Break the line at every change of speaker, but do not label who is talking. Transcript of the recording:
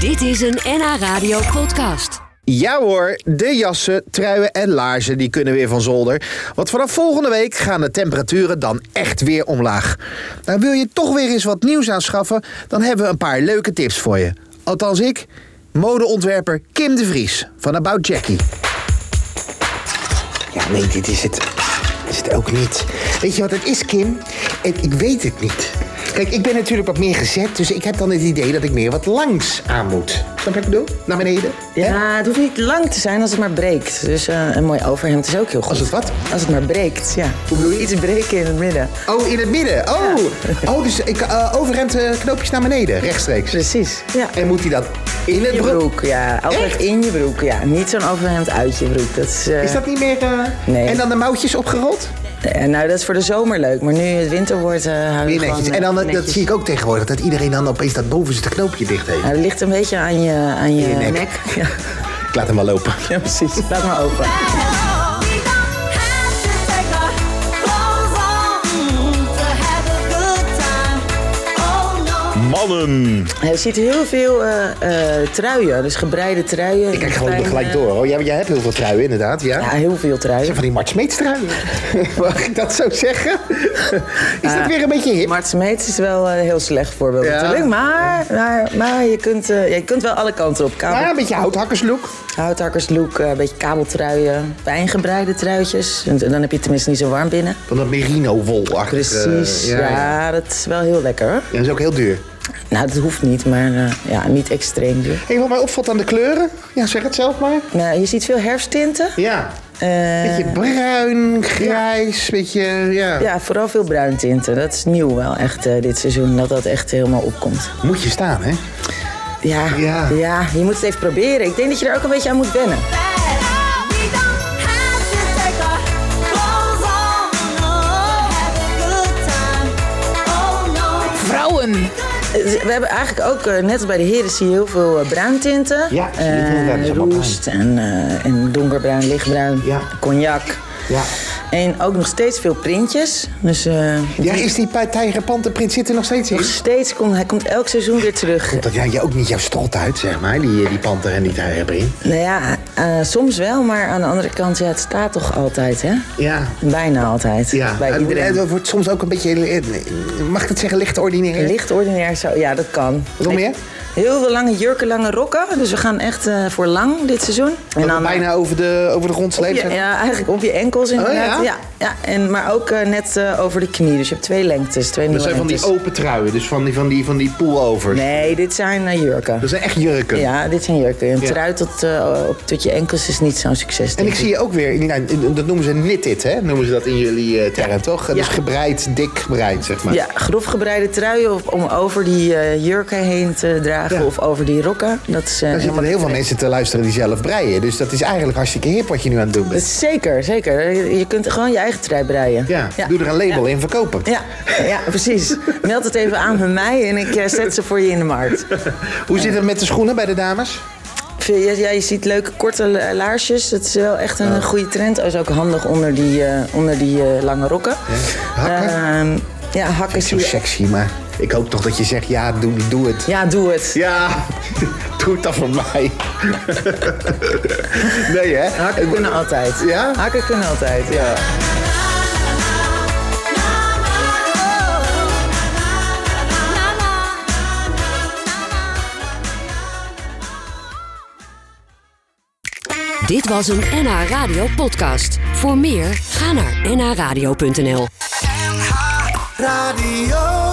Dit is een NH Radio podcast.
Ja hoor, de jassen, truien en laarzen die kunnen weer van zolder. Want vanaf volgende week gaan de temperaturen dan echt weer omlaag. Nou, wil je toch weer eens wat nieuws aanschaffen? Dan hebben we een paar leuke tips voor je. Althans ik, modeontwerper Kim de Vries van About Jackie.
Ja, nee, dit is het. Dit is het ook niet. Weet je wat het is, Kim? Ik, ik weet het niet. Kijk, ik ben natuurlijk wat meer gezet, dus ik heb dan het idee dat ik meer wat langs aan moet. Snap je wat ik bedoel? Naar beneden. Ja?
Ja, het hoeft niet lang te zijn als het maar breekt. Dus eh, een mooi overhemd is ook heel goed.
Als het wat?
Als het maar breekt, ja.
Hoe bedoel je?
Iets breken in het midden.
Oh, in het midden. Oh, oh dus ik, eh, overhemd eh, knoopjes naar beneden, rechtstreeks.
Precies, ja.
En moet hij dat in het
In je
broek?
broek, ja. Altijd
Echt?
in je broek, ja. Niet zo'n overhemd uit je broek. Dat is, eh,
Is dat niet meer... eh,
Nee.
En dan de mouwtjes opgerold?
eh, nou, dat is voor de zomer leuk. Maar nu het winter wordt, eh hou je
Weer
gewoon,
netjes.
eh,
En dan, eh, dat
netjes.
zie ik ook tegenwoordig, dat iedereen dan opeens dat bovenste knoopje dicht heeft.
Nou, dat ligt een beetje aan je, aan je,
je nek.
Ja,
Ik laat hem wel lopen.
ja, precies. Laat maar open.
We don't have to take our clothes off to have a good time. Oh no.
Mannen.
Je ziet heel veel eh, eh, truien, dus gebreide truien.
Ik kijk gewoon er
Fijne-
gelijk door. hoor. jij, jij hebt heel veel truien, inderdaad. Ja.
Ja, heel veel truien.
Zijn van die Mart Smeets truien. Mag ik dat zo zeggen? Ah. Is dat weer een beetje hip?
Mart Smeets is wel een heel slecht voorbeeld
Ja.
natuurlijk. Maar, maar, maar je, kunt, eh, ja, je kunt wel alle kanten op. Kabel,
Ja, een beetje houthakkerslook.
Houthakkerslook, eh, een beetje kabeltruien, fijngebreide truitjes. En dan heb je het tenminste niet zo warm binnen.
Van dat merino eh, wol achter.
Precies, ja, dat is wel heel lekker. hoor.
Dat is ook heel duur.
Nou, dat hoeft niet, maar eh, ja, niet extreem duur.
Hey, wat mij opvalt aan de kleuren. Ja, zeg het zelf maar.
Nou, je ziet veel herfsttinten.
Ja.
Eh,
Beetje bruin, grijs, beetje, ja.
ja, vooral veel bruintinten. Dat is nieuw wel echt eh, dit seizoen, dat dat echt helemaal opkomt.
Moet je staan, hè?
Ja,
Ja.
ja, je moet het even proberen. Ik denk dat je er ook een beetje aan moet wennen.
We don't have to take our clothes off to have a good time. Oh no.
Vrouwen.
We hebben eigenlijk ook, eh, net als bij de heren, zie je heel veel eh, bruintinten.
Ja, zie je het inderdaad, het is
Eh,
allemaal
roest en, eh, en donkerbruin, lichtbruin,
Ja.
cognac.
Ja.
En ook nog steeds veel printjes. Dus eh,
Ja, is die pa- tijgerpantenprint zit er nog steeds in?
nog steeds komt hij komt elk seizoen weer terug.
Dat jij ook niet jouw strot uit, zeg maar, die, die panter en die tijgerprint.
Nou ja, eh, soms wel, maar aan de andere kant, ja, het staat toch altijd, hè?
Ja.
Bijna altijd.
Ja,
bij
het wordt-
iedereen.
het wordt soms ook een beetje, eh, mag ik het zeggen, licht ordinair.
Licht ordinair zo, ja, dat kan.
Waarom meer?
Ik- Heel veel lange jurken, lange rokken. Dus we gaan echt eh, voor lang dit seizoen.
Dat we
eh,
bijna over de, over de grond sleept.
Ja,
zeg maar.
ja, eigenlijk op je enkels inderdaad.
Oh ja?
ja? Ja, en, maar ook eh, net eh, over de knie. Dus je hebt twee lengtes, twee
Dat
nieuwe
zijn van die
lengtes.
open truien, dus van die, van die, van die pullovers.
nee, dit zijn eh, jurken.
Dat zijn echt jurken.
Ja, dit zijn jurken. Een
Ja.
trui tot, eh, op, tot je enkels is niet zo'n succes.
En
denk
ik zie je ook weer, nou, dat noemen ze knitted, hè? Noemen ze dat in jullie eh, term, toch? Dus gebreid, dik gebreid, zeg maar.
Ja, grof gebreide truien of- om over die eh, jurken heen te dragen
Ja.
of over die rokken. Dat is, eh,
Er
helemaal
zitten heel veel
niet
mensen te luisteren die zelf breien. Dus dat is eigenlijk hartstikke hip wat je nu aan het doen bent.
terecht. Zeker, zeker. Je- Je kunt gewoon je eigen trui breien.
Ja, doe er een label in verkopen.
Ja, ja, precies. Meld het even aan bij mij en ik eh, zet ze voor je in de markt.
Hoe zit het met de schoenen bij de dames?
Vind je- Ja, je ziet leuke korte la- laarsjes. Dat is wel echt een goede trend. Dat is ook handig onder die, eh, onder die eh, lange rokken.
Hakken?
Ehm, ja, hakken
Zo
zie je.
sexy, maar ik hoop toch dat je zegt, ja, doe, doe het.
Ja, doe het.
Ja, doe het dan voor mij. nee, hè?
Hakken kunnen altijd.
Ja?
Hakken kunnen altijd, ja.
Ja.
Dit was een NH Radio podcast. Voor meer, ga naar nhradio.nl.
Radio.